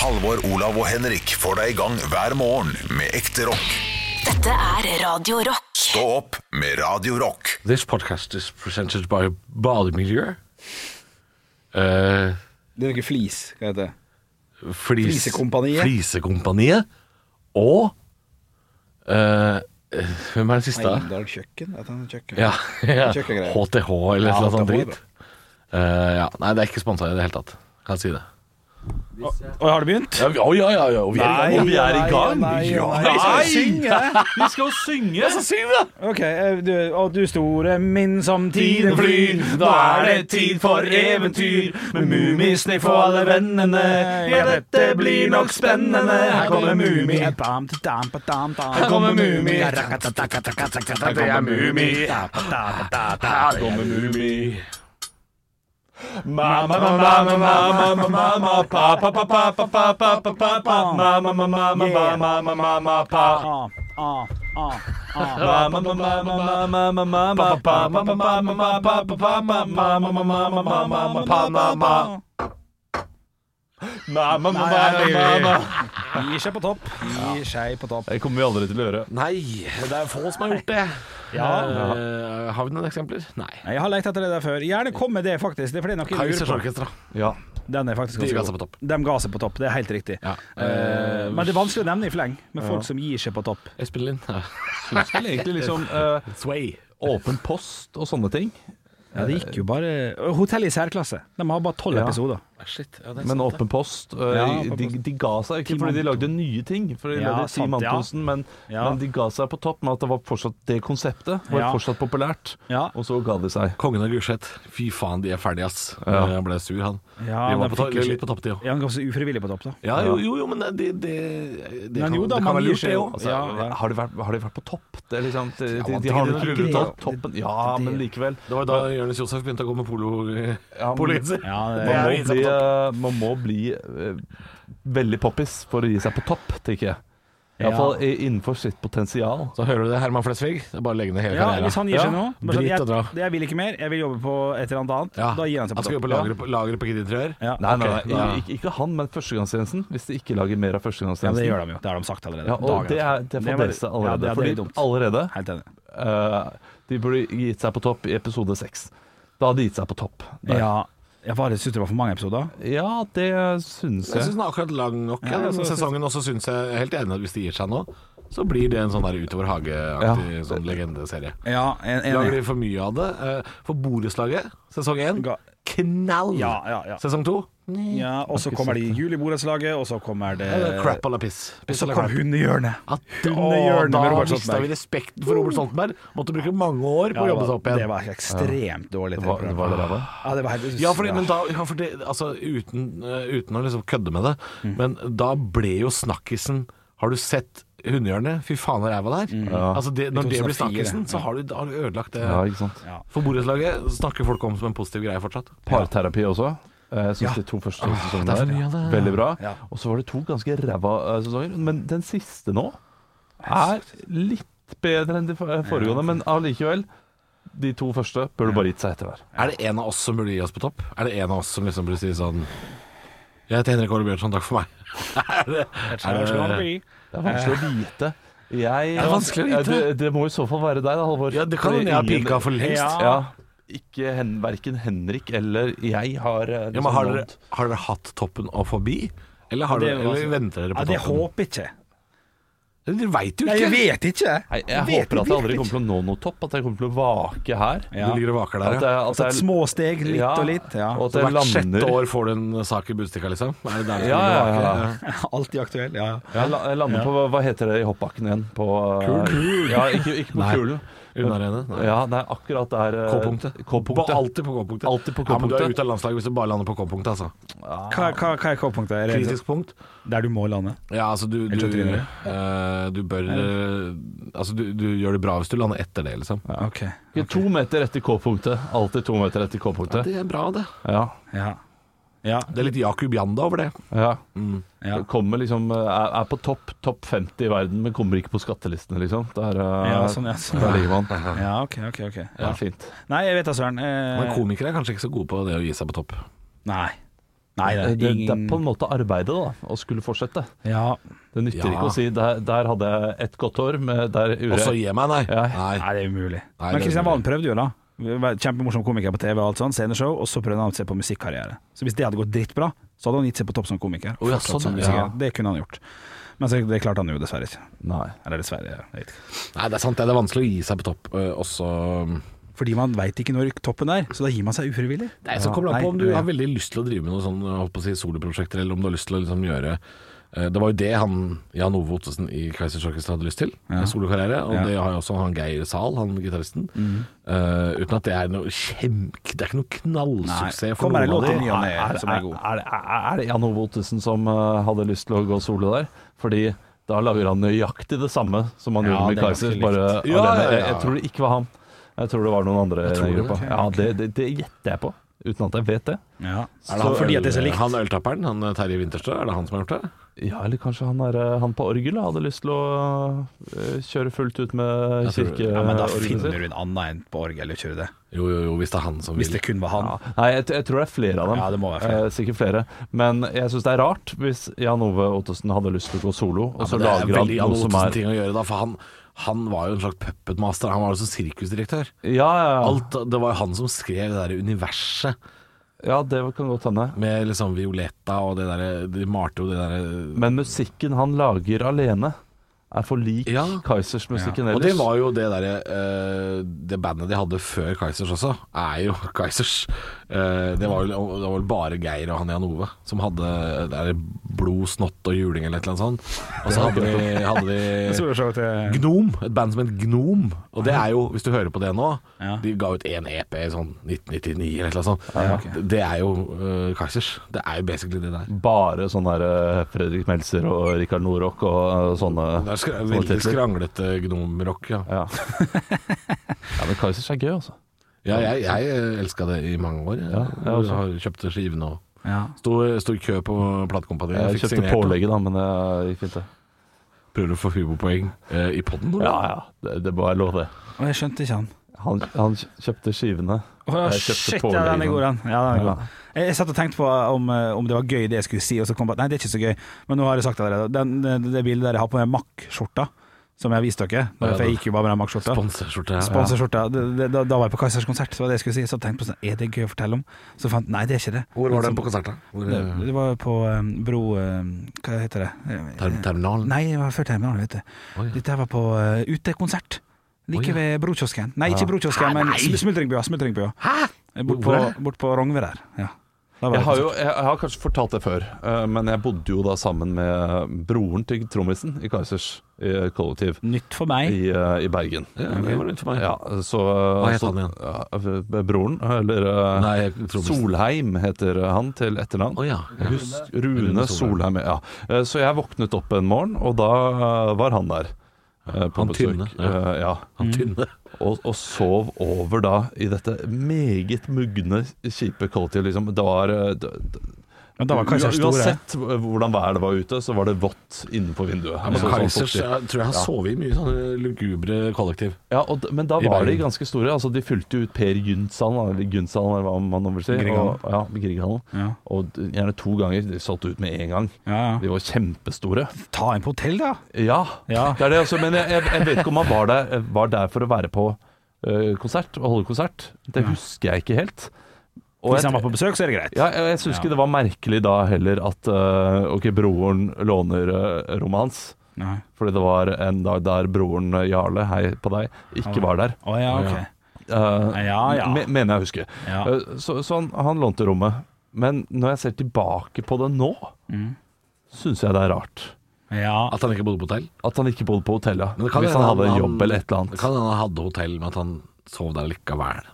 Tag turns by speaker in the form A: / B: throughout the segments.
A: Halvor, Olav og Henrik får deg i gang hver morgen med ekte rock.
B: Dette er Radio Rock.
A: Stå opp med Radio Rock.
C: This podcast is presented by Bademiljø. Eh,
D: Det er jo ikke flis, hva heter det?
C: flis,
D: Flisekompaniet.
C: Flisekompaniet. Og eh, Hvem er det siste? da?
D: Heimdal kjøkken? Et eller annet kjøkken.
C: Ja, ja.
D: Kjøkkengreier.
C: HTH eller
D: Ja,
C: noe sånt
D: HTH,
C: drit. Eh, ja. Nei, det er ikke sponsa i det hele tatt. Kan si det.
D: Oi, har det begynt?
C: Ja, vi, å, ja, ja, ja. og Vi er i gang.
E: vi er i gang.
D: Nei, nei,
C: Ja,
D: nei. Vi skal jo synge!
E: Vi skal jo synge!
C: Så syng, da!
D: Ok, eh, du, og du store min som tiden flyr,
E: da er det tid for eventyr. Med Mummisniff og alle vennene. Ja, dette blir nok spennende. Her kommer Mummi. Her
D: Her
E: kommer Mumi.
D: Her
E: kommer Mumi.
C: Her kommer Mumi.
E: Mamma, mamma, mamma, mamma, mamma, pa, pa, pa, pa, pa, pa, pa, pa, pa, pa. Mamma, mamma, mamma, mamma, mamma, mamma, pa.
D: Ah, ah, ah, ah.
E: Mamma, mamma, mamma, mamma, mamma, pa, pa, pa, pa, pa, pa, pa, pa, pa. Mamma, mamma, mamma, mamma, mamma, Panama. Mamma, mamma, mamma, mamma.
D: Gir seg på topp. Gir seg på topp.
E: Det kommer vi aldri til å gjøre.
C: Nei, det er få som har gjort det.
D: Ja.
C: Eh, har vi noen eksempler? Nei.
D: Nei, Jeg har lekt etter det der før. Gjerne kom med det, faktisk. Det er fordi noe jeg
C: Kaizers
D: lurer på.
C: Orkestra.
E: Ja.
D: Den er faktisk
C: De
D: ganske
C: ga
D: god.
C: seg på topp.
D: De ga seg på topp, det er helt riktig.
C: Ja.
D: Eh, men det er vanskelig å nevne i fleng med folk som gir seg på topp.
C: Espen Lind. Ja.
E: Eller egentlig liksom eh,
C: Sway.
E: åpen post og sånne ting.
D: Ja, det gikk jo bare Hotell i særklasse. De har bare tolv
E: Ja.
D: episoder.
C: Ah, Shit, ja, det er
E: Men
C: sant,
E: åpen post eh,
D: Ja, åpen
E: de,
D: post.
E: de ga seg ikke
D: Team
E: fordi de
D: Anton.
E: lagde nye ting. For de
D: Ja,
E: lagde Team
D: sant, ja.
E: Antonsen, men,
D: Ja.
E: men de ga seg på topp med at det var fortsatt det konseptet var
D: Ja.
E: fortsatt populært.
D: Ja.
E: Og så ga de seg.
C: Kongen av Gulset. Fy faen, de er ferdige, ass.
E: Ja.
C: Han ble sur, han.
D: Ja,
C: vi var
D: de
C: på,
D: fikk
C: to
D: jo
C: litt på topptida.
D: Ja, han kom så ufrivillig på topp, da.
C: Ja, jo, jo, jo, men det, det, det, det
D: Men
C: kan,
D: jo da,
C: det
D: man
C: kan være
D: gir
C: lurt,
D: seg
C: det
D: jo.
C: òg.
E: Altså,
D: Ja.
E: har, de vært, har de vært på topp? Det er liksom, de, de,
C: man
E: de
C: tenker
E: har nok
C: det er
E: rullet
C: greit.
E: ut toppen. Ja, men likevel.
C: Det var jo da Jonis Josef begynte å gå med polo
E: Ja, men-
C: pologenser.
D: Ja, det-
E: Man
C: er å
E: må
C: gi seg
E: bli,
C: på topp.
E: eh, man må bli eh, veldig poppis for å gi seg på topp, tenker jeg.
D: Ja.
E: Iallfall innenfor sitt potensial.
C: Så hører du det, Herman Flesvig. Det er bare å legge ned hele
D: Ja,
C: karrieren.
D: Hvis han gir seg nå bare sånn,
C: Drit
D: jeg,
C: og dra.
D: det- jeg vil ikke mer, jeg vil jobbe på et eller annet annet.
C: Ja.
D: Da gir han seg på
C: Han skal jobbe
D: topp.
C: på lageret på, lageret på Kid Interiør.
D: Ja.
E: Nei, nei,
C: Ok,
E: nei,
C: da-
E: ikke, ikke han, men førstegangstjenesten. Hvis de ikke lager mer av førstegangstjenesten.
D: Ja, men det gjør de jo. Det har de sagt allerede. altså.
E: Ja, og det er, det er
D: Det
E: for
D: var-
E: dere
D: ja,
E: allerede.
D: det er- det er dumt.
E: fordi allerede
D: Helt enig.
E: eh, De burde gitt seg på topp i episode seks. Da hadde de gitt seg på topp. der.
D: Ja, jeg bare syns det var for mange episoder.
E: Ja, det syns
C: Jeg syns
E: jeg.
C: den er akkurat lang nok. Ja,
E: Ja,
C: den sesongen også syns jeg helt enig at hvis de gir seg nå, så blir det en sånn der utover hage-aktig
E: Ja.
C: sånn legendeserie.
D: Ja, en,
C: Lager
D: enig.
C: de for mye av det? eh, For borettslaget, sesong én,
D: Ga-
C: knall!
D: Ja, ja, ja.
C: Sesong to,
D: Ja, og så kommer de i juleborettslaget, og så kommer det
C: eh, crap à la piss. Piss
D: Så
C: à la
D: kom
C: crap.
D: hundehjørnet.
C: At
D: Hundehjørnet med
C: da
D: Robert
C: mista
D: Stoltenberg.
C: vi respekten for Robert Stoltenberg. Måtte bruke mange år på å
D: Ja,
C: jobbe
D: det
C: seg opp
D: var- Det
C: igjen.
D: var ekstremt dårlig.
E: Det var, det var det der, var.
D: Ja, det var helt
C: Ja, fordi, men da, ja, for det- altså, uten, eh, uten å liksom kødde med det,
D: Mm.
C: men da ble jo snakkisen Har du sett Hundehjørnet? Fy faen, hvor ræva det er.
D: Mm.
C: Altså det, når det blir
D: 2004,
C: snakkisen, så har du, da har du ødelagt det.
E: Ja, ikke sant.
D: Ja.
C: For borettslaget snakker folk om som en positiv greie fortsatt.
E: Parterapi også. Eh, Jeg syns
D: Ja.
E: de to første sesongene
C: det er så
E: der,
C: mye av det.
E: veldig bra.
D: Ja.
E: Og så var det to ganske ræva eh, sesonger. Men den siste nå er litt bedre enn de for- eh, foregående, men allikevel. De to første burde bare gitt seg etter hver.
C: Er det en av oss som burde gi oss på topp? Er det en av oss som liksom burde si sånn Jeg heter Henrik Ole Bjørnson, takk for meg. er det,
D: Eh,
C: er det,
E: Det er vanskelig å vite. Jeg,
C: Er det vanskelig å vite?
E: Ja, det, det må i så fall være deg, da, Halvor.
C: ja, det kan hende jeg har
E: Fordi ingen-
C: pika for lengst.
D: Ja.
E: Ja. Ikke hen, verken Henrik eller jeg har eh,
C: Ja, men har,
E: liksom
C: dere,
E: nådd-
C: har dere hatt toppen og forbi? Eller, har
D: Ja,
C: dere,
D: det er jo
C: eller venter dere
D: Ja,
C: på
D: det
C: toppen?
D: håper jeg ikke.
C: Dere veit jo
D: Nei,
C: ikke!
D: jeg vet ikke.
E: Nei, jeg
D: vet-
E: håper at jeg aldri
D: vet
E: kommer til å nå noe topp, at jeg kommer til å vake her.
D: Ja.
C: Du ligger og vaker
E: At
C: der,
E: jeg,
C: ja.
E: at
D: Altså
E: jeg,
D: et små steg, litt
E: Ja,
D: og litt. Ja.
E: og at
C: Så
E: jeg
C: hvert sjette
E: lander
C: år får du en sak i Budstikka, liksom? Er det der du
E: Ja,
C: ligger og
E: ja, ja.
C: vaker?
D: Alltid aktuell. Ja.
E: Jeg la- jeg lander på hva heter det i hoppbakken igjen? På eh, Kul. Ja, ikke, ikke på
C: Nei.
E: kulen.
C: Unnarene? Nei.
E: Ja, det er akkurat der eh,
C: K-punktet.
E: K-punktet.
C: Ba- Alltid på K-punktet.
E: Alltid på
C: Ja, men du er
E: K-punktet.
C: ute av landslaget hvis du bare lander på K-punktet, altså.
D: Hva, hva, hva er K-punktet? Er det
C: Kritisk punkt.
D: Der du må lande?
C: Ja, altså du, du,
D: Eller tryner.
C: eh, du bør eh, Altså du, du gjør det bra hvis du lander etter det, liksom.
D: Ok.
E: Ikke To meter etter K-punktet. Alltid to meter etter K-punktet.
C: Det er bra, det.
E: Ja.
D: Ja. Ja.
C: Det er litt Jakub Janda over det.
E: ja.
D: Mm. ja.
E: Kommer liksom eh, Er er på topp topp 50 i verden, men kommer ikke på skattelistene, liksom. Der, eh,
D: Ja, sånn, ja, sånn.
E: der ligger man.
D: ja, ok, ok. ok
E: Det er fint.
D: Nei, jeg vet da søren.
C: Men
D: Eh,
C: komikere er kanskje ikke så gode på det å gi seg på topp.
D: nei. Nei, det er
E: Det, det, det er
D: ingen-
E: på en måte arbeidet, da, å skulle fortsette.
D: Ja.
E: Det nytter
C: Ja.
E: ikke å si der, 'der hadde jeg ett godt år', men der
C: Og
E: gjorde
C: så
E: jeg
C: gi meg, nei.
E: Ja.
C: nei.
D: Nei, det er umulig.
C: Nei, det
D: Men
C: er
D: Kristian
C: umulig.
D: Valen prøvde jo, da. Var Kjempemorsom komiker på TV, og alt sånt, sceneshow, og så prøvde han å se på musikkarriere. Så hvis det hadde gått drittbra, så hadde han gitt seg på topp som komiker.
C: Å, ja,
D: Fortsatt
C: sånn,
D: som
C: ja.
D: musiker. Det kunne han gjort. Men så, det klarte han jo dessverre ikke.
E: Nei.
D: Eller dessverre, jeg vet ikke.
C: nei, det er sant. det. Det er vanskelig å gi seg på topp øh, også.
D: Fordi man veit ikke når toppen er, så da gir man seg ufrivillig.
C: Nei, så kommer det an på
D: Nei,
C: om du
D: ja.
C: har veldig lyst til å drive med noen sånne holdt på å si, soloprosjekter, eller om du har lyst til å liksom gjøre eh, Det var jo det han Jan Ove Ottesen i Keisers Orkester hadde lyst til, en solokarriere. Og
D: Ja. Mm.
C: det har jo også han Geir Zahl, han gitaristen. Eh, uten at det er noe kjempe... Det er ikke noe knallsuksess for
D: kommer
C: noen
D: det
C: av
D: låter
C: de.
D: nye?
E: Er, er,
D: som er
E: er,
D: god.
E: er, er det Jan Ove Ottesen som eh, hadde lyst til å gå solo der? Fordi da lager han nøyaktig det samme som han
D: Ja,
E: gjorde
D: det
E: med
D: er
E: Kaiser.
D: ganske
E: Bare
C: likt. Ja,
E: alene.
C: ja, ja,
E: Jeg,
C: ja.
E: jeg tror det ikke var han. Jeg tror det var noen andre i
C: tror
E: den
C: det,
E: gruppa.
C: ok.
E: Ja, det, det, det gjetter jeg på, uten at jeg vet det.
D: Ja.
C: Er det han,
D: fordi at det er så
C: øl-
D: likt.
C: han øltapperen, han eh, Terje Winterstø, er det han som har gjort det?
E: Ja, eller kanskje han, er, eh, han på orgelet hadde lyst til å eh, kjøre fullt ut med
C: Jeg tror-
D: Ja, men da
E: kirkeorgelet
D: finner
E: sitt.
D: du en annen enn på orgel eller kjører det.
C: Jo, jo, jo, hvis det er han som
D: Hvis
C: vil.
D: det kun var han.
E: Ja. Nei, jeg, t- jeg tror det er flere av dem.
D: Ja, det må være flere.
E: Eh, sikkert flere. Men jeg syns det er rart hvis Jan Ove Ottesen hadde lyst til å gå solo, og så
C: Men det er
E: lager han
C: veldig Jan
E: noe som
C: Ottesen
E: er
C: ting å gjøre da, for han, han var jo en slags puppetmaster. Han var jo som sirkusdirektør.
E: Ja, ja, ja.
C: Alt, det var jo han som skrev det der universet.
E: ja det kan godt hende.
C: Med liksom Violetta og det der De malte jo det der
E: Men musikken han lager alene, er for lik
C: Ja.
E: Kaizers musikken
C: Og det
E: ellers.
C: var jo det derre eh, Det bandet de hadde før Kaizers også, er jo Kaizers. Eh, det, var vel, det var vel bare Geir og han Jan Ove som hadde det der blod, snott og juling eller et eller annet sånt. Og så hadde de, hadde de
D: Ja.
C: Gnom, et band som het Gnom. Og det er jo, hvis du hører på det nå
D: Ja.
C: De ga ut én EP i sånn 1999 eller et eller annet sånt.
D: ok.
C: Det- Det er jo eh, Kaizers. Det er jo basically det der.
E: Bare sånn der eh, Fredrik Meltzer og Rikard Norok og eh, sånne
C: Det er skra
E: sånne
C: veldig
E: titler.
C: skranglete gnomrock, ja.
E: Ja. ja, men Kaizers er gøy, altså.
C: Ja, jeg, jeg elska det i mange år. Jeg,
E: Ja, jeg også.
C: har kjøpt skivene og Sto sto i kø på platekompaniet.
E: Jeg
C: fikk
E: kjøpte
C: signert og
E: pålegget, da, men det gikk fint, det.
C: Prøvde å få humorpoeng eh, i poden nå.
E: Ja ja, det, det må jeg love.
D: Å, jeg skjønte ikke han.
E: Han, han kjøpte skivene.
D: Å, ja,
E: Jeg kjøpte
D: shit, ja, den er
E: påleggen.
D: god, den. Ja, den er
E: Ja.
D: god. Jeg, jeg satt og tenkte på om, eh, om det var gøy det jeg skulle si, og så kom jeg på at nei, det er ikke så gøy. Men nå har jeg sagt det allerede. Den, det, det bildet der jeg har på meg Mack-skjorta, som jeg har vist dere,
C: Ja,
D: for
C: det-
D: jeg gikk jo bare med den Mack-skjorta.
C: Sponsorskjorte. Ja.
D: Sponsorskjorta. Det- det- Da, da var jeg på Kaizers konsert, så var det jeg skulle si. Så tenkte jeg på sånn, er det gøy å fortelle om? Så fant nei, det er ikke det.
C: Hvor var den på konserten? Hvor,
D: Det,
C: eh,
D: det var på eh, Bro eh, Hva heter det? Eh,
C: ter terminalen?
D: Nei, det var før terminalen, vet du.
C: Oi, ja.
D: Dette her var på eh, utekonsert.
C: Oi,
D: Like
C: ja. Ah.
D: ved Brokiosken. Nei, ikke Brokiosken, men sm- Smultringbua. Smultringbua. Eh, Bort på,
C: Hvor er det?
D: bort på Rongve der. Ja. Da var det
E: Jeg har,
D: konsert.
E: jo, jeg, jeg har kanskje fortalt det før, eh, men jeg bodde jo da sammen med broren til trommisen i Kaizers eh, kollektiv
D: Nytt for meg.
E: i, eh, i Bergen.
C: Ja, det var litt for meg.
E: Ja, så,
C: Hva het
E: så-
C: han
E: Ja, broren, eller eh,
C: Nei, jeg tror
E: Solheim heter han til etternavn.
C: Å ja. ja.
E: Husk, Rune,
C: Rune Solheim.
E: Solheim. ja. Eh, Så jeg våknet opp en morgen, og da eh, var han der. eh, På
C: han
E: besøk.
C: tynne, ja.
E: Eh, Ja.
C: Han tynne.
E: Og, og sov over da i dette meget mugne, kjipe kollektivet. Liksom. Det var eh, d- d-
D: Men da var Kaizers
E: Ua-
D: store.
E: Uansett eh, hvordan været det var ute, så var det vått innenfor vinduet.
C: Men
E: Så- sånn
C: Kaizers
E: fuktig.
C: jeg tror jeg har sovet i mye sånne lugubre kollektiv.
E: ja, og, d- men da
C: I
E: var de
C: Bergen.
E: ganske store. Altså, de fulgte jo ut Per Gynsalen, eller Gynsalen, eller hva man nå vil si.
D: Grieghallen.
E: Og, ja, Grieghallen.
D: Ja.
E: Og d- gjerne to ganger. De solgte ut med en gang.
D: Ja,
E: De
D: ja.
E: var kjempestore.
D: Ta en på hotell, da.
E: Ja,
D: Ja.
E: det er det altså. Men jeg, jeg, jeg vet ikke om han var der, var der for å være på øh, konsert, og holde konsert. Det husker jeg ikke helt. Og
D: Hvis
E: jeg-
D: han var på besøk, så er det greit.
E: Ja, jeg, jeg syns ikke det var merkelig da heller at øh, Ok, broren låner øh, rommet hans.
D: Nei.
E: Fordi det var en dag der broren øh, Jarle, hei på deg, ikke var der.
D: Å ja, ok.
E: Eh,
D: Ja, ja.
E: me- Mener jeg å huske.
D: Ja.
E: Eh, så så han, han lånte rommet. Men når jeg ser tilbake på det nå,
D: Mm.
E: syns jeg det er rart.
D: Ja.
C: At han ikke bodde på hotell.
E: At han ikke bodde på hotellet.
C: Men det kan
E: Hvis han
C: hende
E: hadde
C: han-
E: jobb eller et eller
C: Det
E: annet.
C: kan hende han hadde hotell, men at han sov der likevel.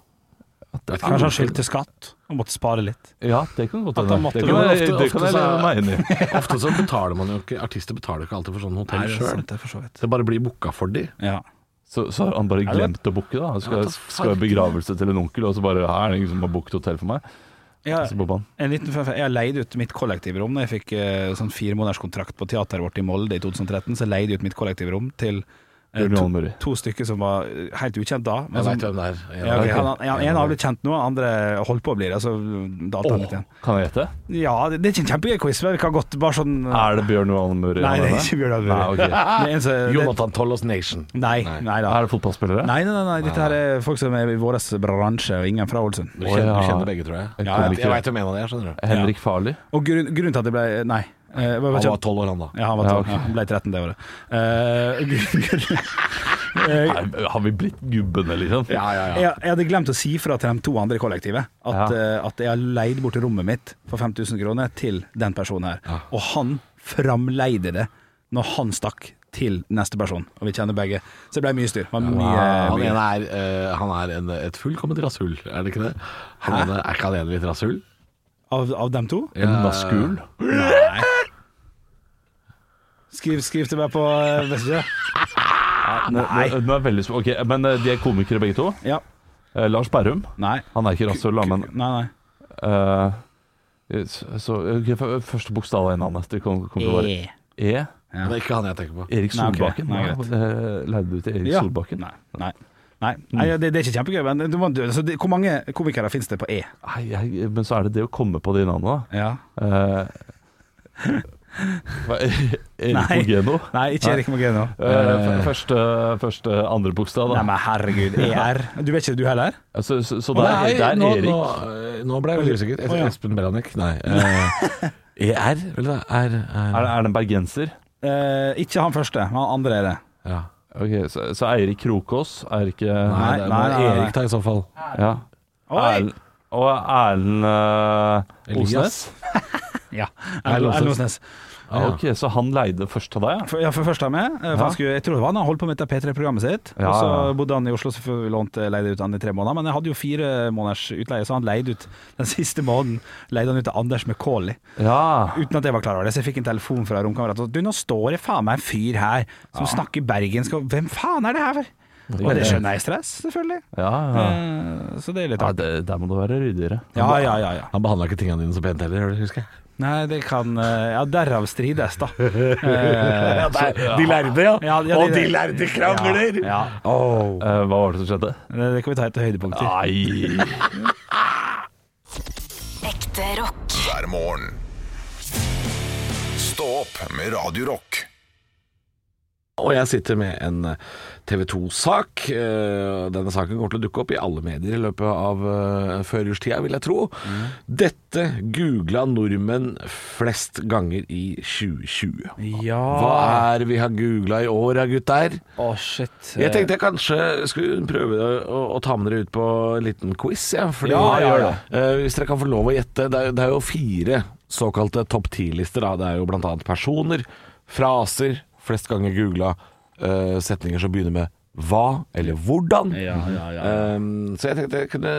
D: Kanskje han skyldte skatt og måtte spare litt.
E: Ja, det kan godt
D: At han
E: hende.
D: måtte-
E: Det
C: Men
E: kan jeg,
C: ofte-
E: det kan
C: ofte
E: jeg leve
C: så er-
E: meg inn i.
C: Ofte så betaler man jo ikke Artister betaler jo ikke alltid for sånn hotell
D: det er
C: sjøl.
D: sant, det er for så vidt.
C: Det bare blir booka for de.
D: Ja.
E: Så, så har han bare
D: det-
E: glemt å booke, da. Han
C: Ja,
E: Skal,
C: da
E: skal i
C: farken.
E: begravelse til en onkel, og så bare Her er det ingen som har booket hotell for meg.
D: ja.
E: Så bobba han.
D: En liten fun fact. Jeg leide ut mitt kollektivrom Når jeg fikk eh, sånn fire måneders kontrakt på teateret vårt i Molde i 2013. Så leide jeg ut mitt kollektivrom til Eh,
E: Bjørn Johan
D: To,
E: Muri.
D: to stykker som var eh, helt ukjent da. men
C: Jeg
D: som-
C: veit hvem det er.
D: ja, ok,
E: Ok.
D: han, han, en av ble kjent nå, han andre holdt på å bli det. Så dalte han litt igjen.
E: Kan jeg gjette?
D: Ja, det, det er ikke en kjempegøy quiz, men vi kan godt bare sånn
E: Er det Bjørn Johan Muri?
D: Nei,
E: han
D: det er
E: er?
D: ikke Bjørn Johan
E: Nei,
D: Muri.
E: ok.
D: Det er en som- det-
C: Jonathan Tollos Nation.
D: Nei,
C: Nei.
D: nei da.
E: Er det fotballspillere?
D: Nei, nei, nei, nei, dette her er folk som er i vår bransje, og ingen fra Ålesund.
C: Du
E: Å,
C: kjenner,
E: ja.
C: du kjenner begge, tror jeg.
E: Jeg
C: Ja,
E: kommer
C: jeg
E: ikke-
C: jeg veit hvem en av de er, skjønner du.
E: Henrik Farli?
D: Og grunn, grunnen til at det ble Nei. eh, hva- hva-
C: Han var tolv år, han da.
D: ja, han var
E: Ja,
D: tolv.
E: ok.
D: Ja, han ble 13 det året. Eh, grunn- grunn- eh,
E: Nei, Har vi blitt gubbene, liksom?
C: Ja, ja, ja.
D: jeg, jeg hadde glemt å si fra til de to andre i kollektivet at,
E: Ja.
D: eh, at jeg har leid bort rommet mitt for 5000 kroner til den personen her. Og han framleide det når han stakk til neste person, og vi kjenner begge. Så det ble mye styr. Det var mye,
C: Han
D: mye.
C: ene er, eh, han er en, et fullkomment rasshull, er det ikke det? Han ene, er ikke han ene litt rasshull?
D: Av, av dem to?
E: En naskul?
D: Nei. Skriv, skriv til meg på eh, Messenger.
E: Nå, nå, nå er jeg veldig sp- ok, men eh, de er komikere begge to.
D: Ja.
E: Eh, Lars Berrum.
D: Nei.
E: Han er ikke rasshøl, da, men
D: Nei, nei.
E: eh, så, ok, f- Første bokstav av en annen. Det kom, kom til å være E.
D: Ja.
C: Det er ikke han jeg tenker på.
E: Erik
D: Nei, ok.
E: Solbakken.
D: Nei, greit.
E: Hva, eh, Leide du til Erik
D: Ja.
E: Solbakken?
D: Nei. nei. Nei, Nei, det, det er ikke kjempegøy, men du må, du, altså, det, hvor mange komikere finnes det på E?
E: Nei, jeg, men så er det det å komme på de navnene,
D: Ja.
E: da. Eh, hva- Erik
D: Nei.
E: Mogeno?
D: Nei, ikke Erik Mogeno.
E: Eh, f- første, første andre bokstav,
D: Nei,
E: da.
D: men herregud, E ER. Du vet ikke du heller?
E: Så, så, så
C: Å,
E: det er, det er
C: nå,
E: Erik.
C: nå, eh, nå ble jeg veldig usikker.
D: Å, ja.
C: Espen Beranek, nei. eh,
E: E
C: ER, vel det er, eh, er,
E: Er, det- er det en bergenser?
D: Eh, ikke han første, men han andre er det.
C: ja.
E: Ok, så, så Eirik Krokås er ikke
C: Nei,
D: Nei,
C: det
D: nei,
C: må
D: nei, nei.
C: Erik ta i så fall.
E: Ja.
D: Oi!
E: Erl- og Erlend eh, Osnes.
C: Elias.
D: Ja,
C: Erlend
D: Erlend
C: Osnes.
D: Osnes.
E: Ja, ok, så han leide først av deg, ja?
D: For, ja, for først er med. eh, For han skulle, jeg tror det var han han holdt på med dette P3-programmet sitt.
E: Ja,
D: og så
E: ja.
D: bodde han i Oslo, så får vi lånte leide ut han i tre måneder. Men jeg hadde jo fire måneders utleie, så han leide ut den siste måneden leide han ut til Anders McCauley.
E: Ja.
D: Uten at jeg var klar over det, så jeg fikk en telefon fra romkameraten. Du, nå står det faen meg en fyr her som snakker bergensk, og hvem faen er det her for? Og det skjønner jeg stress, selvfølgelig.
E: Ja, ja.
D: Eh, Så det er litt
E: ja
D: artig.
E: det, der må du være ryddigere.
D: Ja, ja, ja, ja.
C: Han behandla ikke tingene dine så pent heller, husker jeg.
D: Nei, det kan eh, Ja, derav strides, da. Eh,
C: de lærde, ja.
D: Ja, ja,
C: Og
D: de-
C: de lærde krangler!
D: ja,
E: Eh, hva var det som skjedde?
D: det det kan vi ta etter høydepunkter.
E: Nei
B: Ekte rock.
A: hver morgen. Stå opp med Radio Rock.
C: Og jeg sitter med en eh, TV 2-sak. Eh, Denne saken kommer til å dukke opp i alle medier i løpet av eh, førjulstida, vil jeg tro.
D: Mm.
C: Dette googla nordmenn flest ganger i 2020. Hva
D: Ja
C: er det vi har googla i år, da, gutter?
D: Å, shit.
C: Jeg tenkte jeg kanskje skulle prøve å, å, å ta med dere ut på en liten quiz. Ja, fordi,
D: Ja, gjør det.
C: Eh, hvis dere kan få lov å gjette. Det er, det er jo fire såkalte topp ti-lister. da. Det er jo bl.a. personer, fraser, flest ganger googla, eh, setninger som begynner med hva eller hvordan.
D: Ja, ja, ja.
C: Ehm, så jeg tenkte jeg kunne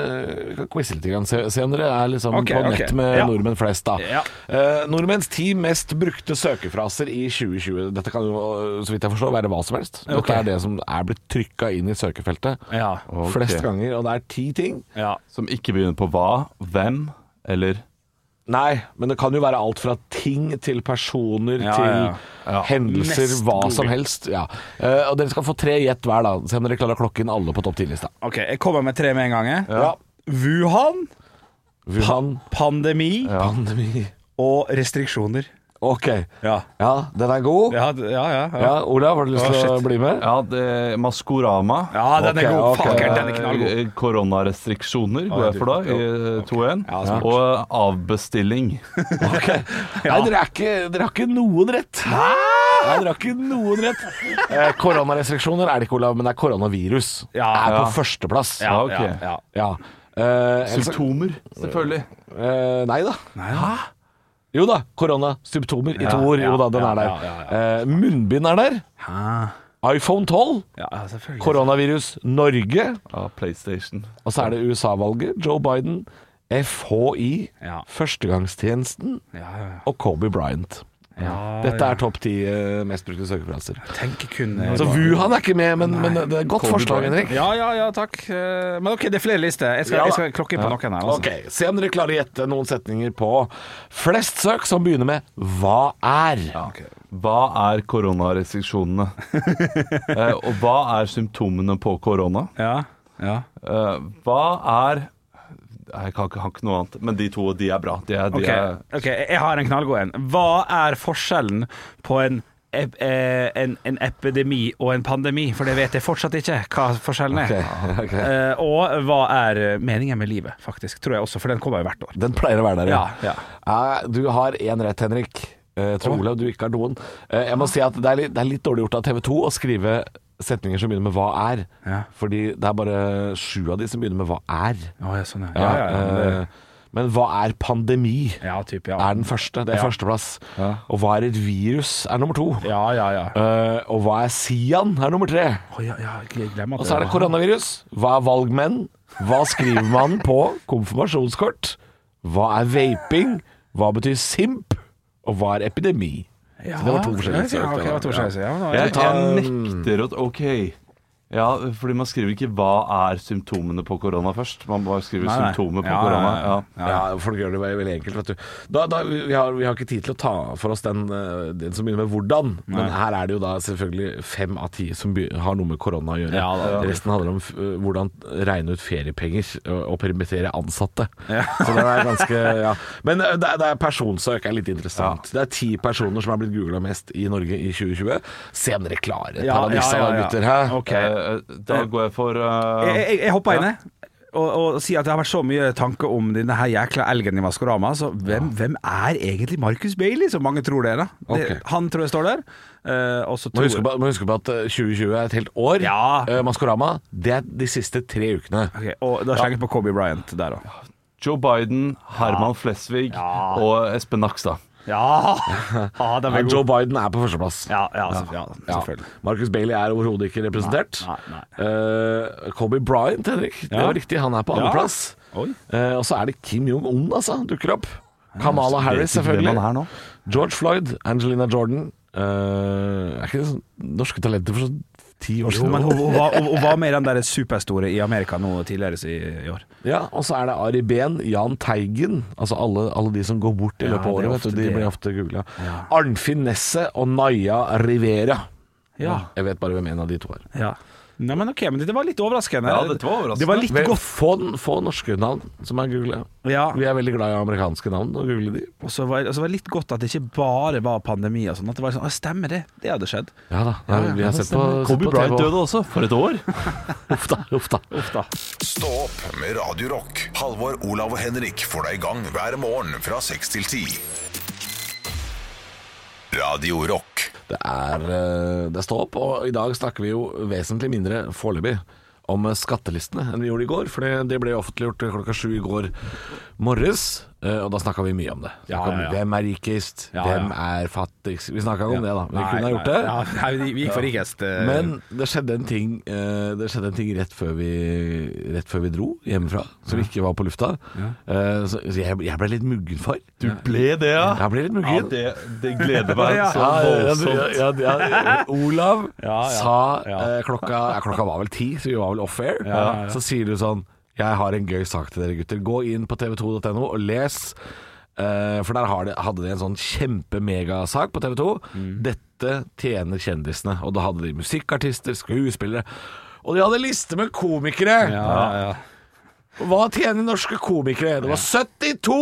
C: vi kan quize litt. Grann. Se, se om dere er liksom
D: Ok,
C: på
D: ok.
C: nett med
D: Ja.
C: nordmenn flest. da
D: Ja.
C: Eh, Nordmenns ti mest brukte søkefraser i 2020. Dette kan jo, eh, så vidt jeg forstår, være hva som helst. Dette
D: Ok.
C: er det som er blitt trykka inn i søkefeltet
D: Ja.
E: Ok.
C: flest ganger, og det er ti ting.
D: ja.
E: Som ikke begynner på hva, hvem eller
C: Nei, men det kan jo være alt fra ting til personer
D: Ja,
C: til
D: ja,
C: hendelser,
D: Mest
C: hva
D: Google.
C: som helst. Ja. Eh, og dere skal få tre gjett hver, da. Se om dere klarer å klokke inn alle på topp ti-lista.
D: OK, jeg kommer med tre med en gang. jeg.
C: Ja.
D: Wuhan,
C: Wuhan,
D: pandemi
C: pandemi
D: og restriksjoner.
C: Ok.
D: Ja.
C: Ja, den er god.
D: Ja, d- ja, ja. ja.
C: Ja, Olav, har du lyst
D: Å,
C: til å
D: shit.
C: bli med?
E: Ja, det, Maskorama.
D: Ja, den er
C: Ok,
D: god.
C: ok.
D: Faker, den er knallgod.
E: Eh, Koronarestriksjoner går jeg for da, i eh, 2-1.
C: Ja, smart.
E: Og avbestilling.
C: Nei, dere, er ikke, dere har ikke noen rett. Nei, dere har ikke noen rett. Eh, koronarestriksjoner er det ikke, Olav, men det er koronavirus.
D: Ja,
C: er på
E: ja.
C: førsteplass.
D: Ja,
E: Ja, ok.
D: ja, ja.
C: Ja. Eh, ellers-
E: Symptomer, selvfølgelig.
C: eh, nei da. Jo da, koronasymptomer i to ord. Jo da, den
D: ja,
C: er der.
D: ja, ja,
C: Eh, munnbind er der.
D: Hæ?
C: iPhone 12.
D: Ja, selvfølgelig.
C: Koronavirus Norge.
E: Ja, PlayStation.
C: Og så er det USA-valget. Joe Biden. FHI.
D: Ja.
C: Førstegangstjenesten.
D: Ja, ja, ja.
C: Og Kobe Bryant.
D: Ja,
C: Dette er topp ti eh, mest brukte søkeplasser.
D: Tenker kun
C: Så Wuhan er ikke med, men, men det er et godt
E: Kobe
C: forslag,
E: Bryant.
C: Henrik.
D: Ja, ja, ja, takk. Eh, Men OK, det er flere lister. Jeg skal,
C: Ja, da.
D: jeg skal klokke inn på noen her.
C: Ok,
D: Altså.
C: Se om dere klarer å gjette noen setninger på flest søk som begynner med 'hva er'.
D: Ok.
E: Hva er koronarestriksjonene? eh, og hva er symptomene på korona?
D: Ja, ja.
E: Eh, hva er Jeg kan ikke, har ikke noe annet, men de to de er bra. De er, de
D: Ok,
E: er,
D: ok, jeg har en knallgod en. Hva er forskjellen på en, ep- eh, en, en epidemi og en pandemi? For det vet jeg fortsatt ikke hva forskjellen er. Eh, og hva er meningen med livet, faktisk, tror jeg også, for den kommer jo hvert år.
C: Den pleier å være der,
D: Ja,
C: Eh, Du har én rett, Henrik. Eh, Jeg tror
D: Å.
C: Olav du ikke har noen. Eh, Jeg må si at det er litt, det er litt dårlig gjort av TV 2 å skrive setninger som begynner med 'hva er'.
D: Ja.
C: Fordi det er bare sju av de som begynner med 'hva er'.
D: Å, ja, sånn, ja. Ja, ja, ja, men det-
C: Eh, Men hva er pandemi?
D: ja, typ, ja.
C: Er den første. Det er
D: Ja.
C: førsteplass. Og hva er et virus? Er nummer to.
D: Ja, ja, ja.
C: Eh, og hva er Sian? Er nummer tre.
D: Å, ja, ja jeg glemmer at
C: Og så er det koronavirus. Hva er valgmenn? Hva skriver man på konfirmasjonskort? Hva er vaping? Hva betyr simp? Og hva er epidemi?
D: Ja,
C: Så det var to forskjellige
D: Ja, ok, det var to
C: søknader.
D: forskjellige. Ja, men da-
E: jeg, jeg nekter å OK. Ja, fordi man skriver ikke 'hva er symptomene på korona' først. Man bare skriver
D: Nei, nei.
E: 'symptomer på
D: Ja, ja,
E: korona'.
D: ja.
E: Ja.
C: Ja, folk gjør det veldig, veldig enkelt, vet du. Da, da, vi, vi har, vi har ikke tid til å ta for oss den, eh, den som begynner med hvordan, men her er det jo da selvfølgelig fem av ti som be- har noe med korona å gjøre. Resten handler om f- eh, hvordan regne ut feriepenger og, og permittere ansatte. Så det er ganske ja. Men eh, det, er- det er personsøk er litt interessant. Det er ti personer som er blitt googla mest i Norge i 2020. Se om dere klarer et
D: Ja,
C: par av disse,
D: ja,
C: da,
D: ja, ja.
C: gutter. Hæ?
D: Ok.
E: Eh, Da går jeg for eh,
D: Jeg, jeg, jeg hopper inn jeg, og, og sier at det har vært så mye tanke om denne her jækla elgen i Maskorama. Så hvem, hvem er egentlig Marcus Bailey, som mange tror det er? da? Det,
C: Ok.
D: Han tror jeg står der. eh, og så
C: Man
D: tror
C: husker, på, man husker på at eh, 2020 er et helt år.
D: Ja.
C: Eh, Maskorama, det er de siste tre ukene.
D: Ok, og da slenger jeg på Kobe Bryant der òg.
E: Joe Biden, Herman Flesvig og Espen Nakstad.
D: Ja! ja, den
C: Ja,
D: er
C: Joe
D: god.
C: Biden er på førsteplass.
D: Ja, ja, selvfø- ja,
C: Ja.
D: selvfølgelig.
C: Marcus Bailey er overhodet ikke representert.
D: Nei, nei,
C: Eh, Kobe Bryant, Henrik. Det
D: Ja.
C: var riktig, han er på
D: Ja.
C: andreplass.
D: Oi.
C: Eh, og så er det Kim Jong-un, altså. Dukker opp. Kamala Harris,
E: Vet ikke hvem
C: selvfølgelig.
E: han er nå.
C: George Floyd. Angelina Jordan. Eh, er ikke det sånn norske talenter for sånn ti år
D: Jo,
C: siden?
D: men hun, hun, var, hun, hun var med i den der superstore i Amerika nå tidligere i i år.
C: Ja, og så er det Ari Behn, Jahn Teigen Altså alle, alle de som går bort i
D: Ja,
C: løpet av året,
D: det er
C: vet du.
D: ofte
C: De
D: det.
C: blir ofte googla. Arnfinn Nesset og Naya Rivera.
D: Ja.
C: Jeg vet bare hvem en av de to er.
D: ja. Nei, men ok, men det var litt overraskende.
E: Ja, dette var overraskende.
D: Det var litt
C: Vel,
D: godt.
C: Få, få norske navn som er googla.
D: Ja.
C: Vi er veldig glad i amerikanske navn og google de.
D: Og så var, og så var det litt godt at det ikke bare var pandemi og sånn. At det var sånn «Å, Stemmer det, det hadde skjedd.
C: Ja da, nei, vi har sett på, sett
E: Kobe
C: på
E: Bryant
C: TV.
E: døde også, for et år!
C: Uff da, uff da.
A: Stå opp med Radio Rock. Halvor, Olav og Henrik får deg i gang hver morgen fra 6 til 10. Radio Rock.
C: Det er, eh, det er stå opp, og i dag snakker vi jo vesentlig mindre foreløpig om skattelistene enn vi gjorde i går, for det- det ble jo offentliggjort klokka sju i går morges, eh, og da snakka vi mye om det.
D: Ja,
C: Snakket om
D: ja, ja.
C: Hvem er rikest?
D: Ja,
C: hvem
D: ja.
C: er fattigst? Vi snakka om det, da. Vi
D: Nei,
C: kunne ha gjort
D: nei.
C: det.
D: Ja, nei, vi- vi gikk for rikest. eh.
C: Men det skjedde en ting, eh, det skjedde en ting rett, før vi, rett før vi dro hjemmefra, så vi ikke var på lufta. Eh, Så så jeg, jeg ble litt muggen for.
E: Du ble det, ja?
C: Jeg ble litt muggen.
E: ja det, det gleder meg
D: Ja.
E: så
C: Ja,
E: voldsomt.
C: ja, ja, ja, Olav
D: Ja, ja.
C: sa
D: Ja.
C: eh, klokka, ja, klokka var vel ti, så vi var vel off-air.
D: Ja, ja.
C: Så sier du sånn Jeg har en gøy sak til dere gutter. Gå inn på tv2.no og les. eh, for der har de, hadde de en sånn kjempemegasak på TV2.
D: Mm.
C: Dette tjener kjendisene. Og da hadde de musikkartister, skuespillere. Og de hadde liste med komikere!
D: ja, ja.
C: Og Hva tjener norske komikere? Det var 72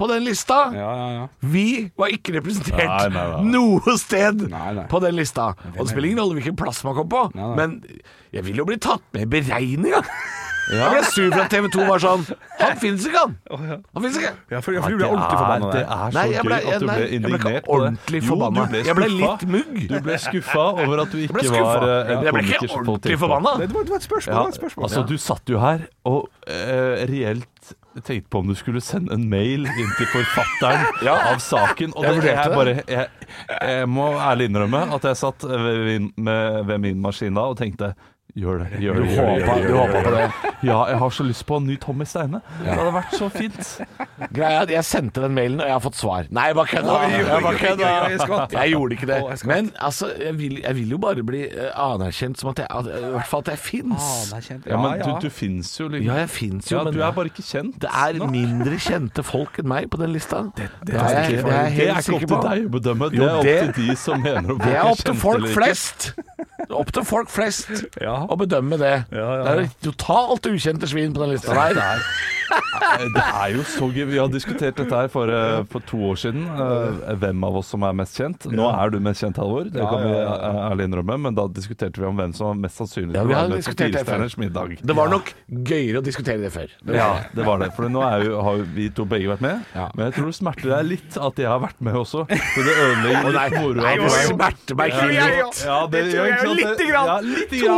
C: på den lista!
D: Ja, ja, ja.
C: Vi var ikke representert
E: Nei, nei, nei.
C: noe sted
D: Nei, nei.
C: på den lista. Og det spiller ingen rolle hvilken plass man kom på,
D: Nei, nei.
C: men jeg vil jo bli tatt med i beregninga. Jeg ble sur for at TV 2 var sånn Han fins ikke, han! Han finnes ikke!
D: ja for, for du ble ordentlig forbanna
E: det
D: der.
E: er så
C: Nei, jeg ble-
E: gøy at du
C: nei,
E: ble
C: jeg ble ikke
E: indignert.
C: ordentlig forbanna. Jeg ble litt mugg.
E: Du ble skuffa over at du
C: Jeg ble
E: ikke var
C: skuffa.
E: eh, en
C: Jeg ble
E: komiker
C: ikke
E: som folk
C: ordentlig
E: tenkte på.
C: forbanna.
D: Det var, det var et spørsmål.
E: Ja,
D: det var et spørsmål.
E: altså, du satt jo her og eh, reelt tenkte på om du skulle sende en mail inn til forfatteren av saken. Og
C: Jeg
E: det,
C: vurderte
E: jeg, bare, jeg, jeg må ærlig innrømme at jeg satt ved, min- med, ved min maskin da og tenkte Gjør det. Gjør
C: Du
E: det, gjør det,
C: håpa-
E: gjør
C: du håpa på det.
E: Ja, jeg har så lyst på en ny Tommy Steine. Det hadde vært så fint.
C: Greia er at jeg sendte den mailen, og jeg har fått svar. Nei, jeg bare kødda! Jeg bare kødda. Jeg gjorde ikke det. Men altså, jeg vil, jeg vil jo bare bli eh, anerkjent som at jeg at, I hvert fall at jeg fins.
D: Ah,
E: Ja, men du, du fins jo, liksom.
C: Ja, jeg fins jo,
E: Ja,
C: men
E: du er bare ikke kjent.
C: det er mindre kjente folk enn meg på den lista. Det,
E: Det
C: er,
E: er
C: jeg-
E: ikke-
C: det er jeg
E: det er
C: helt
E: ikke opp
C: sikker
E: til
C: på.
E: deg å bedømme, det
C: Jo,
E: er opp
C: det-
E: til de som mener å bli
C: Det er opp til
E: kjent
C: folk
E: eller ikke.
C: flest. Det er opp til folk flest
D: Ja.
C: å bedømme det.
D: Ja, ja,
C: Det er totalt ukjente svin på den lista der.
E: Eh, Det er jo så gøy. Vi har diskutert dette her for, eh, for to år siden. eh, Hvem av oss som er mest kjent. Nå er du mest kjent, Halvor. Det kan vi eh, ærlig innrømme. Men da diskuterte vi om hvem som var mest sannsynlig
C: Ja,
E: til å
C: vi
E: være
C: har
E: med på
C: diskutert det før.
E: Firestjerners middag.
C: Det var nok gøyere å diskutere det før. Det var
E: Ja,
C: det.
E: det var det. For nå er jo, har jo vi to begge vært med.
C: Ja.
E: Men jeg tror det smerter deg litt at jeg har vært med også. Så det ødelegger
C: Nei,
E: litt moroa.
C: nei,
E: for
C: det
E: deg.
C: smerter meg
D: tror jeg,
C: ikke.
D: ja. Det tror jeg jo lite grann.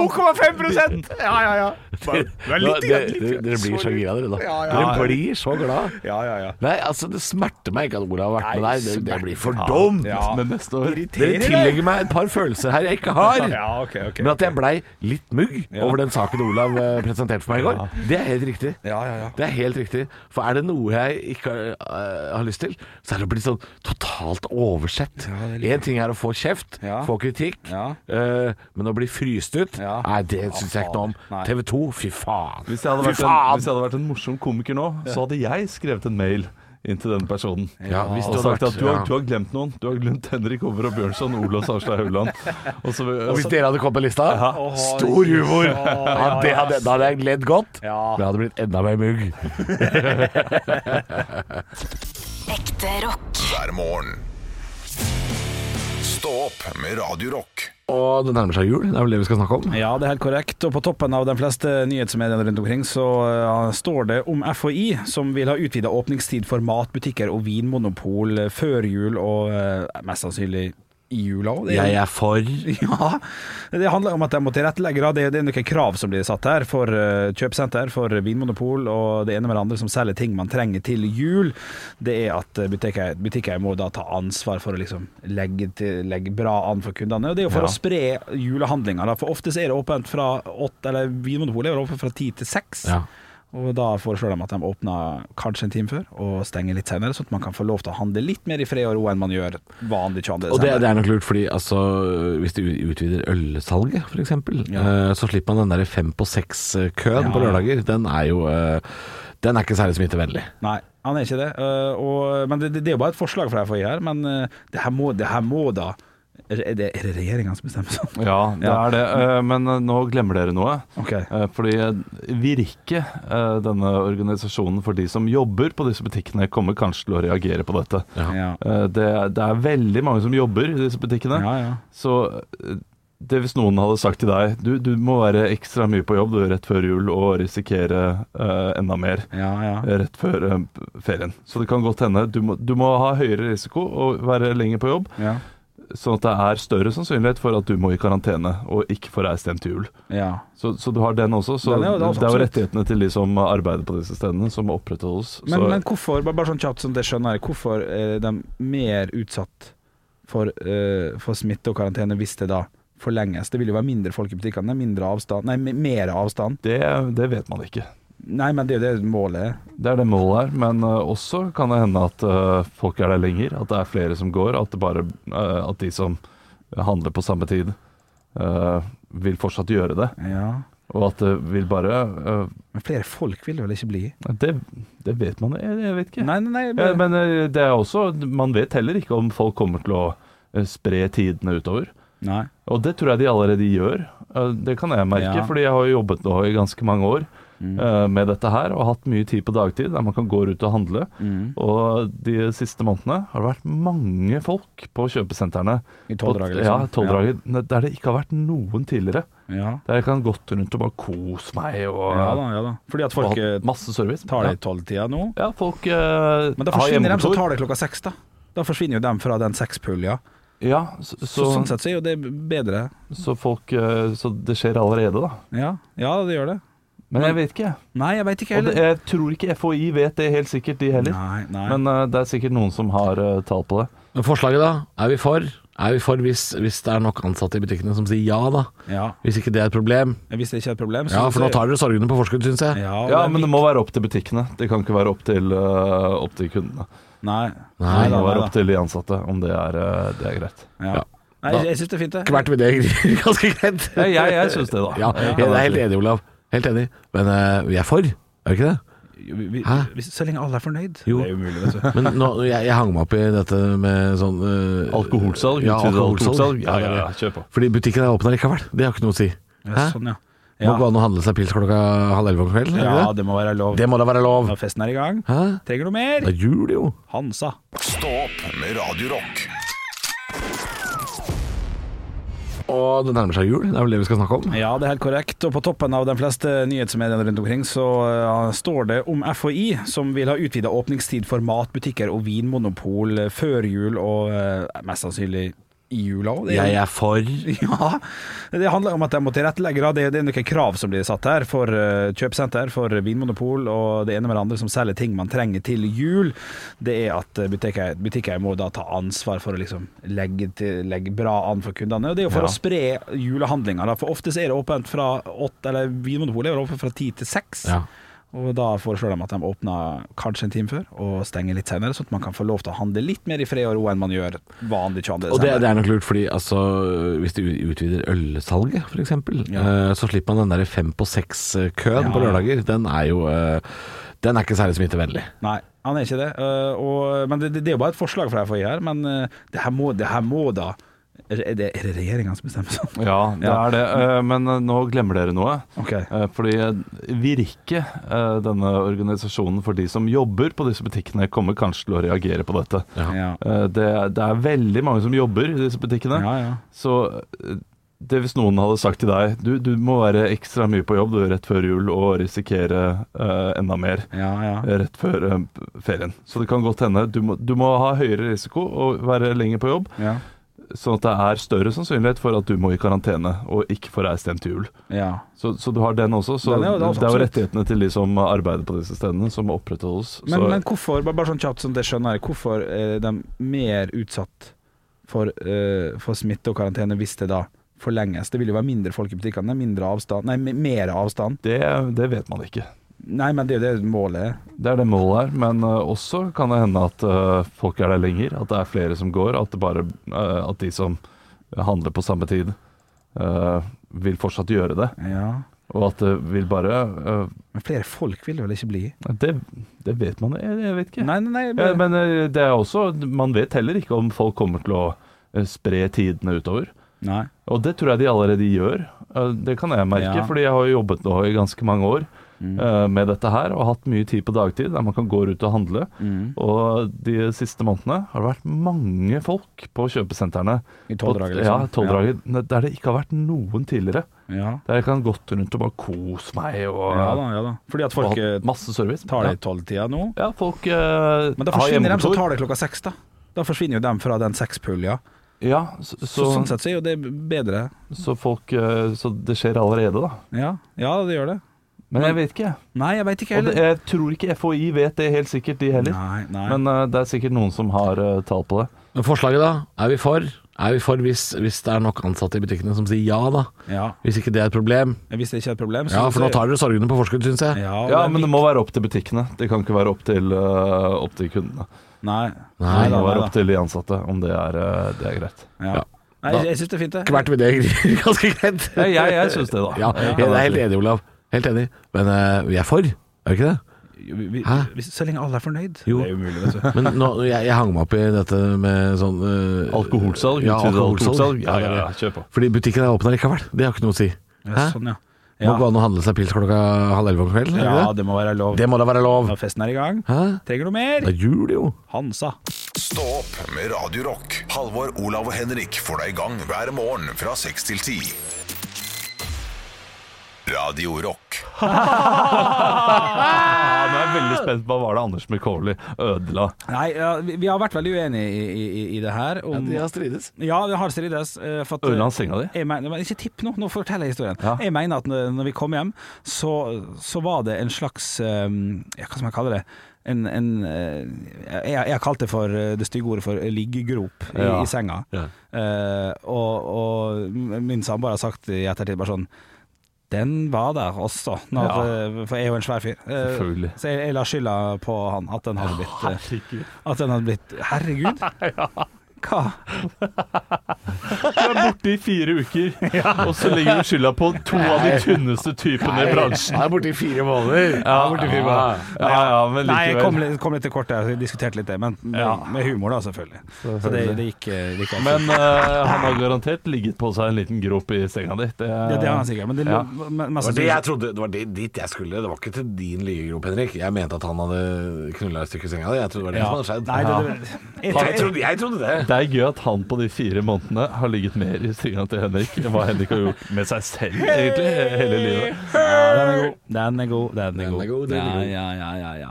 D: 2,5 Ja, ja, ja. Du
C: Nå,
D: er litt
C: dere,
D: grann, litt
C: dere,
D: grann.
C: dere blir så gira, dere da. Dere blir så glad.
D: Ja, ja, ja.
C: Nei, altså, det smerter meg ikke at Olav har vært med
D: Nei,
C: der. Det, det blir for
D: smerter.
C: dumt.
D: Ja.
E: Men neste år
C: Dere tillegger meg et par følelser her jeg ikke har.
D: Ja, ok, ok.
C: Men at jeg blei litt mugg over den saken Olav eh, presenterte for meg i går, det er helt riktig.
D: Ja, ja, ja.
C: Det er helt riktig. For er det noe jeg ikke har, eh, har lyst til, så er det å bli sånn totalt oversett. Én ting er å få kjeft,
D: Ja.
C: få kritikk,
D: Ja.
C: eh, men å bli fryst ut,
D: Ja.
C: nei, det syns jeg ikke noe om.
D: Nei.
C: TV 2, fy faen.
E: Hvis jeg, hadde
C: fy
E: vært en,
C: faen!
E: hvis jeg hadde vært en morsom komiker nå, så hadde jeg skrevet en mail inn til denne personen.
C: Ja, hvis
E: og
C: du hadde
E: sagt
C: vært-
E: at du har,
C: ja.
E: du har glemt noen. Du har glemt Henrik Over og Bjørnson, Ole og Sarstad Hauland. Og så,
C: Og hvis dere hadde kommet på lista, stor humor! Ja, det hadde, da hadde jeg ledd godt,
D: Ja.
C: men jeg hadde blitt enda mer mugg.
B: Ekte rock.
A: hver morgen. Stå opp med Radio Rock.
C: Og det nærmer seg jul, det er vel det vi skal snakke om.
D: Ja, det er helt korrekt. Og på toppen av de fleste nyhetsmediene rundt omkring, så eh, står det om FHI, som vil ha utvida åpningstid for matbutikker og vinmonopol eh, før jul og eh, mest sannsynlig i jula òg.
C: Jeg er for
D: Ja, det handler om at de må tilrettelegge. da. Det, det er noen krav som blir satt her for eh, kjøpesenter, for vinmonopol og det ene med det andre som selger ting man trenger til jul. Det er at eh, butikker, butikker må da ta ansvar for å liksom legge, til, legge bra an for kundene. Og det er jo for å spre julehandlinga. da. For ofte så er det åpent fra åtte, eller Vinmonopolet er åpent fra ti til seks.
C: Ja.
D: Og da foreslår de at de åpner kanskje en time før og stenger litt senere, sånn at man kan få lov til å handle litt mer i fred og ro enn man gjør vanlig 22.
C: Og det,
D: desember.
C: det er nok lurt, fordi altså, hvis de u- utvider ølsalget, f.eks., eksempel eh, så slipper man den der fem på seks-køen på lørdager. Den er jo eh, Den er ikke særlig smittevennlig.
D: Nei, han er ikke det. øh, og, men det, det er jo bare et forslag fra FHI her. Men øh, det, her må, det her må da Er det, er det regjeringa som bestemmer sånn?
E: ja, det
D: Ja.
E: er det. Eh, Men eh, nå glemmer dere noe.
D: Ok.
E: Eh, Fordi eh, Virke, eh, denne organisasjonen for de som jobber på disse butikkene, kommer kanskje til å reagere på dette.
D: Ja.
E: Eh, Det, er- det er veldig mange som jobber i disse butikkene.
D: Ja, ja.
E: Så eh, det hvis noen hadde sagt til deg du, du må være ekstra mye på jobb du, rett før jul og risikere eh, enda mer
D: Ja, ja.
E: eh, rett før eh, ferien. Så det kan godt hende. Du må, du må ha høyere risiko og være lenger på jobb,
D: Ja.
E: sånn at det er større sannsynlighet for at du må i karantene og ikke få reist hjem til jul.
D: ja.
E: Så, så du har den også. Så
D: Den er jo-
E: det, er jo
D: absolutt.
E: rettighetene til de som arbeider på disse stedene, som opprettholdes.
D: Men,
E: så,
D: men hvorfor, bare, bare sånn kjapt som det skjønner jeg, hvorfor er de mer utsatt for, øh, for smitte og karantene hvis det da forlenges? Det vil jo være mindre folk i butikkene, mindre avstand Nei, me- mer avstand.
E: det, det vet man ikke.
D: Nei, men det er jo det målet er.
E: Det er det målet her, men eh, også kan det hende at eh, folk er der lenger, at det er flere som går, at, det bare, eh, at de som handler på samme tid, eh, vil fortsatt gjøre det.
D: Ja.
E: Og at det vil bare eh,
D: Men flere folk vil det vel ikke bli?
E: det, det vet man jeg, jeg vet ikke.
D: Nei, nei, nei.
E: Eh,
D: bare-
E: men eh, det er også Man vet heller ikke om folk kommer til å eh, spre tidene utover.
D: nei.
E: Og det tror jeg de allerede gjør. Eh, Det kan jeg merke,
D: Ja. Mm.
E: fordi jeg har jo jobbet nå i ganske mange år eh, med dette her, og hatt mye tid på dagtid der man kan gå ut og handle.
D: Mm.
E: Og de siste månedene har det vært mange folk på kjøpesentrene.
D: I tolvdraget,
E: Og-
D: liksom.
E: Ja, tolvdraget, der det ikke har vært noen tidligere.
D: Ja.
E: Der jeg kan gått rundt og bare kose meg og,
D: Ja da, ja da. Fordi at
E: og
D: folk
E: hatt
D: eh,
E: masse service.
D: tar det
E: ja.
D: i tolvtida nå.
E: ja, folk eh,
D: Men da
E: har
D: forsvinner de som
E: hjemmekontor.
D: tar det klokka seks, da. Da forsvinner jo dem fra den sekspulja.
E: Ja, så,
D: Så,
E: så, så,
D: sånn sett så er jo det bedre.
E: folk eh, Så det skjer allerede, da.
D: Ja, ja det gjør det.
E: Men jeg vet ikke.
D: Nei, jeg veit ikke
E: Og det,
D: heller.
E: jeg tror ikke FHI vet det helt sikkert, de heller.
D: Nei, nei.
E: Men eh, det er sikkert noen som har eh, tall på det.
C: Men forslaget, da? Er vi for? Er vi for hvis, hvis det er nok ansatte i butikkene som sier ja, da?
D: Ja.
C: Hvis ikke det er et problem?
D: Hvis det ikke er et problem,
C: Ja, for nå tar dere sorgene på forskudd, syns jeg.
D: ja,
E: Ja, men det må være opp til butikkene. Det kan ikke være opp til, eh, opp til kundene.
D: Nei.
E: Det
D: da,
E: må være
D: da.
E: opp til de ansatte, om det er, eh, det er greit.
D: Ja.
C: Ja.
D: Nei, jeg- jeg syns det er fint, det.
C: Vært med det ganske greit.
E: Ja, jeg jeg syns det, da.
C: Ja, jeg jeg er helt enig, Olav. Helt enig. Men eh, vi er for, er vi ikke det?
D: Vi, vi,
C: Hæ?
D: hvis- så lenge alle er fornøyd.
C: Jo.
D: Det er umulig, vet du.
C: Men nå, jeg, jeg hang meg opp i dette med sånn eh,
E: Alkoholsalg,
C: Ja,
E: utvidet alkoholsalg.
C: alkoholsalg.
E: Ja,
C: det
E: ja,
C: er
E: ja,
C: det.
E: kjør på.
C: Fordi butikken er åpen likevel. Det har ikke noe å si. Hæ?
D: Ja, sånn, ja.
C: Må gå
D: Ja.
C: an å handle seg pils klokka halv elleve om kvelden? er det
D: ja,
C: ikke
D: det må være lov.
C: det? det må da være lov.
D: Når festen er i gang.
C: Hæ?
D: Trenger du
C: Det
D: mer?
C: er jul, jo.
D: Hansa.
A: Stå opp med Radio Rock.
C: Og det nærmer seg jul. Det er vel det vi skal snakke om.
D: Ja, det er helt korrekt. Og på toppen av de fleste nyhetsmediene rundt omkring, så eh, står det om FHI, som vil ha utvida åpningstid for matbutikker og vinmonopol eh, før jul, og eh, mest sannsynlig i jula òg.
C: Jeg er for
D: Ja, det handler om at de må tilrettelegge. da. Det, det er noen krav som blir satt her for eh, kjøpesenter, for vinmonopol og det ene med det andre som selger ting man trenger til jul. Det er at eh, butikker, butikker må da ta ansvar for å liksom legge, til, legge bra an for kundene. Og det er jo for å spre julehandlinga. da. For ofte så er det åpent fra åtte, eller Vinmonopolet er åpent fra ti til seks.
C: Ja.
D: Og da foreslår de at de åpner kanskje en time før og stenger litt senere, sånn at man kan få lov til å handle litt mer i fred og ro enn man gjør vanlig 22.
C: Og det,
D: desember.
C: det er nok lurt, fordi altså, hvis de utvider ølsalget, f.eks., eksempel eh, så slipper man den der fem på seks-køen på lørdager. Den er jo eh, Den er ikke særlig smittevennlig.
D: Nei, han er ikke det. Eh, og, men det, det er jo bare et forslag fra FHI her. Men eh, det, her må, det her må da Er det, er det regjeringa som bestemmer sånn?
E: Ja, det
D: Ja.
E: er det. Eh, Men eh, nå glemmer dere noe.
D: Ok.
E: Eh, Fordi eh, Virke, eh, denne organisasjonen for de som jobber på disse butikkene, kommer kanskje til å reagere på dette.
D: Ja.
E: Eh, Det, er- det er veldig mange som jobber i disse butikkene.
D: Ja, ja.
E: Så eh, det hvis noen hadde sagt til deg du, du må være ekstra mye på jobb du, rett før jul og risikere eh, enda mer
D: Ja, ja.
E: eh, rett før eh, ferien. Så det kan godt hende. Du må, du må ha høyere risiko og være lenger på jobb,
D: ja.
E: sånn at det er større sannsynlighet for at du må i karantene og ikke få reist hjem til jul.
D: ja.
E: Så, så du har den også. Så
D: Den er jo-
E: det, er jo
D: absolutt.
E: rettighetene til de som arbeider på disse stedene, som opprettholdes.
D: Men,
E: så,
D: men hvorfor, bare, bare sånn kjapt som det skjønner jeg, hvorfor er de mer utsatt for, eh, for smitte og karantene hvis det da forlenges? Det vil jo være mindre folk i butikkene, mindre avstand Nei, me- mer avstand.
E: det, det vet man ikke.
D: Nei, men det er jo det målet er.
E: Det er det målet her, men eh, også kan det hende at eh, folk er der lenger. At det er flere som går. At, det bare, eh, at de som handler på samme tid, eh, vil fortsatt gjøre det.
D: Ja.
E: Og at det vil bare eh,
D: Men flere folk vil det vel ikke bli?
E: det, det vet man jeg, jeg vet ikke.
D: Nei, nei, nei.
E: Ja,
D: bare-
E: men eh, det er også Man vet heller ikke om folk kommer til å eh, spre tidene utover.
D: nei.
E: Og det tror jeg de allerede gjør. Eh, Det kan jeg merke,
D: Ja. Mm.
E: fordi jeg har jo jobbet nå i ganske mange år eh, med dette her, og hatt mye tid på dagtid der man kan gå ut og handle.
D: Mm.
E: Og de siste månedene har det vært mange folk på kjøpesentrene.
D: I tolvdraget,
E: Og-
D: liksom.
E: Ja, tolvdraget, der det ikke har vært noen tidligere.
D: Ja.
E: Der jeg kan gått rundt og bare kose meg og,
D: Ja da, ja da. Fordi at
E: og
D: folk eh,
E: hatt masse service.
D: tar det
E: ja.
D: i tolvtida nå.
E: ja, folk eh,
D: Men da
E: har
D: forsvinner de som
E: hjemmekontor.
D: tar det klokka seks, da. Da forsvinner jo dem fra den sekspulja.
E: Ja, så,
D: Så,
E: så,
D: sånn sett så er jo det bedre.
E: så folk eh, Så det skjer allerede, da.
D: Ja, ja det gjør det.
E: Men jeg vet ikke.
D: Nei, jeg veit ikke
E: Og det,
D: heller.
E: jeg tror ikke FHI vet det helt sikkert, de heller.
D: Nei, nei.
E: Men eh, det er sikkert noen som har eh, tall på det.
C: Men forslaget, da? Er vi for? Er vi for hvis, hvis det er nok ansatte i butikkene som sier ja, da?
D: Ja.
C: Hvis ikke det er et problem?
D: Hvis det ikke er et problem,
C: Ja, for nå tar dere sorgene på forskudd, syns jeg.
D: ja,
E: Ja, men det må være opp til butikkene. Det kan ikke være opp til, eh, opp til kundene.
D: Nei.
C: Nei,
E: det
D: da,
E: må være
D: da.
E: opp til de ansatte, om det er, eh, det er greit.
D: Ja. Nei, jeg- jeg syns det er fint, det.
C: Ikke vært med det ganske greit.
E: Ja, jeg jeg syns det, da.
C: Ja, jeg jeg er helt enig, Olav. Helt enig. Men eh, vi er for, er vi ikke det?
D: Vi- vi-
C: Hæ?
D: hvis- Så lenge alle er fornøyd.
C: Jo.
D: Det er umulig, vet du.
C: Men nå, jeg, jeg hang meg opp i dette med sånn eh,
E: Alkoholsalg,
C: Ja,
E: utvidet alkoholsalg.
C: alkoholsalg.
E: Ja,
C: det
E: ja,
C: er
E: ja,
C: det.
E: kjør på.
C: Fordi butikken er åpen likevel. Det har ikke noe å si. Hæ?
D: Ja, sånn, ja.
C: Må gå
D: Ja.
C: an å handle seg pils klokka halv elleve om kvelden? er det
D: ja,
C: ikke
D: det må være lov.
C: det? det må da være lov.
D: Når festen er i gang.
C: Hæ?
D: Trenger
C: Det
D: du mer?
C: er jul, jo.
D: Hansa.
A: Stå opp med Radio Rock. Halvor, Olav og Henrik får deg i gang hver morgen fra 6 til 10. Radio Rock.
E: Ja, nå er jeg veldig spent på hva det Anders Mikaeli ødela.
D: Nei, ja, vi vi har vært veldig uenige i, i, i, i det her. Om,
C: De har strides.
D: ja, det har strides. eh, for at-
E: Ødela han senga di?
D: Jeg mener, men ikke tipp nå, nå forteller jeg historien.
E: Ja.
D: Jeg mener at når når vi kom hjem, så, så var det en slags um, ja, Hva skal man kalle det? En, en, eh, jeg, jeg har kalt det for eh, det stygge ordet for liggegrop i,
E: Ja.
D: i senga.
F: Ja.
D: Eh, og, og min samboer har sagt i ettertid bare sånn Den var der også. Når, eh, For jeg er jo en svær fyr. Eh,
E: Selvfølgelig.
D: så jeg, jeg la skylda på han, at den hadde blitt eh, At den hadde blitt Herregud! Hva?
E: Du er borte i fire uker, og så legger du skylda på to av de tynneste typene i bransjen.
C: Han er borte i fire måneder. Han er borte i fire måneder.
E: Ja, ja, men
D: Nei, jeg kom
E: likevel.
D: litt, kom litt til kort der, så jeg diskuterte litt det, men med,
E: Ja.
D: med humor da, selvfølgelig. Så det, det gikk, eh, det gikk absolutt.
E: Men eh, han har garantert ligget på seg en liten grop i senga di. Det,
D: det, det har han sikkert, men det,
E: Ja.
D: lå- men- men-
C: Det var, det, jeg trodde, det var det, dit jeg skulle. Det var ikke til din lygegrop, Henrik. Jeg mente at han hadde knulla et stykke i senga. di. Jeg trodde det var det
D: ja.
C: som hadde skjedd.
D: Nei, det, det, jeg,
C: jeg,
D: tror-
C: trodde, jeg trodde det.
E: Det er gøy at han på de fire månedene har ligget mer i senga til Henrik enn hva Henrik har gjort med seg selv egentlig hele livet.
D: ja, den er god. Den er god. Den er god.
C: er god, den er
D: ja,
C: god.
D: ja, ja, ja, ja.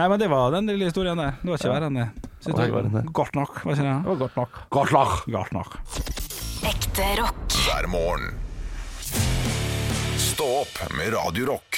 D: Nei, men det var den lille historien der. Det var ikke verre enn det. Synes du?
E: Oi, var det det?
D: Godt nok, var ikke det? Det var godt nok.
C: Godt lag.
D: Godt nok.
B: Ekte rock.
A: hver morgen. Stå opp med Radio Rock.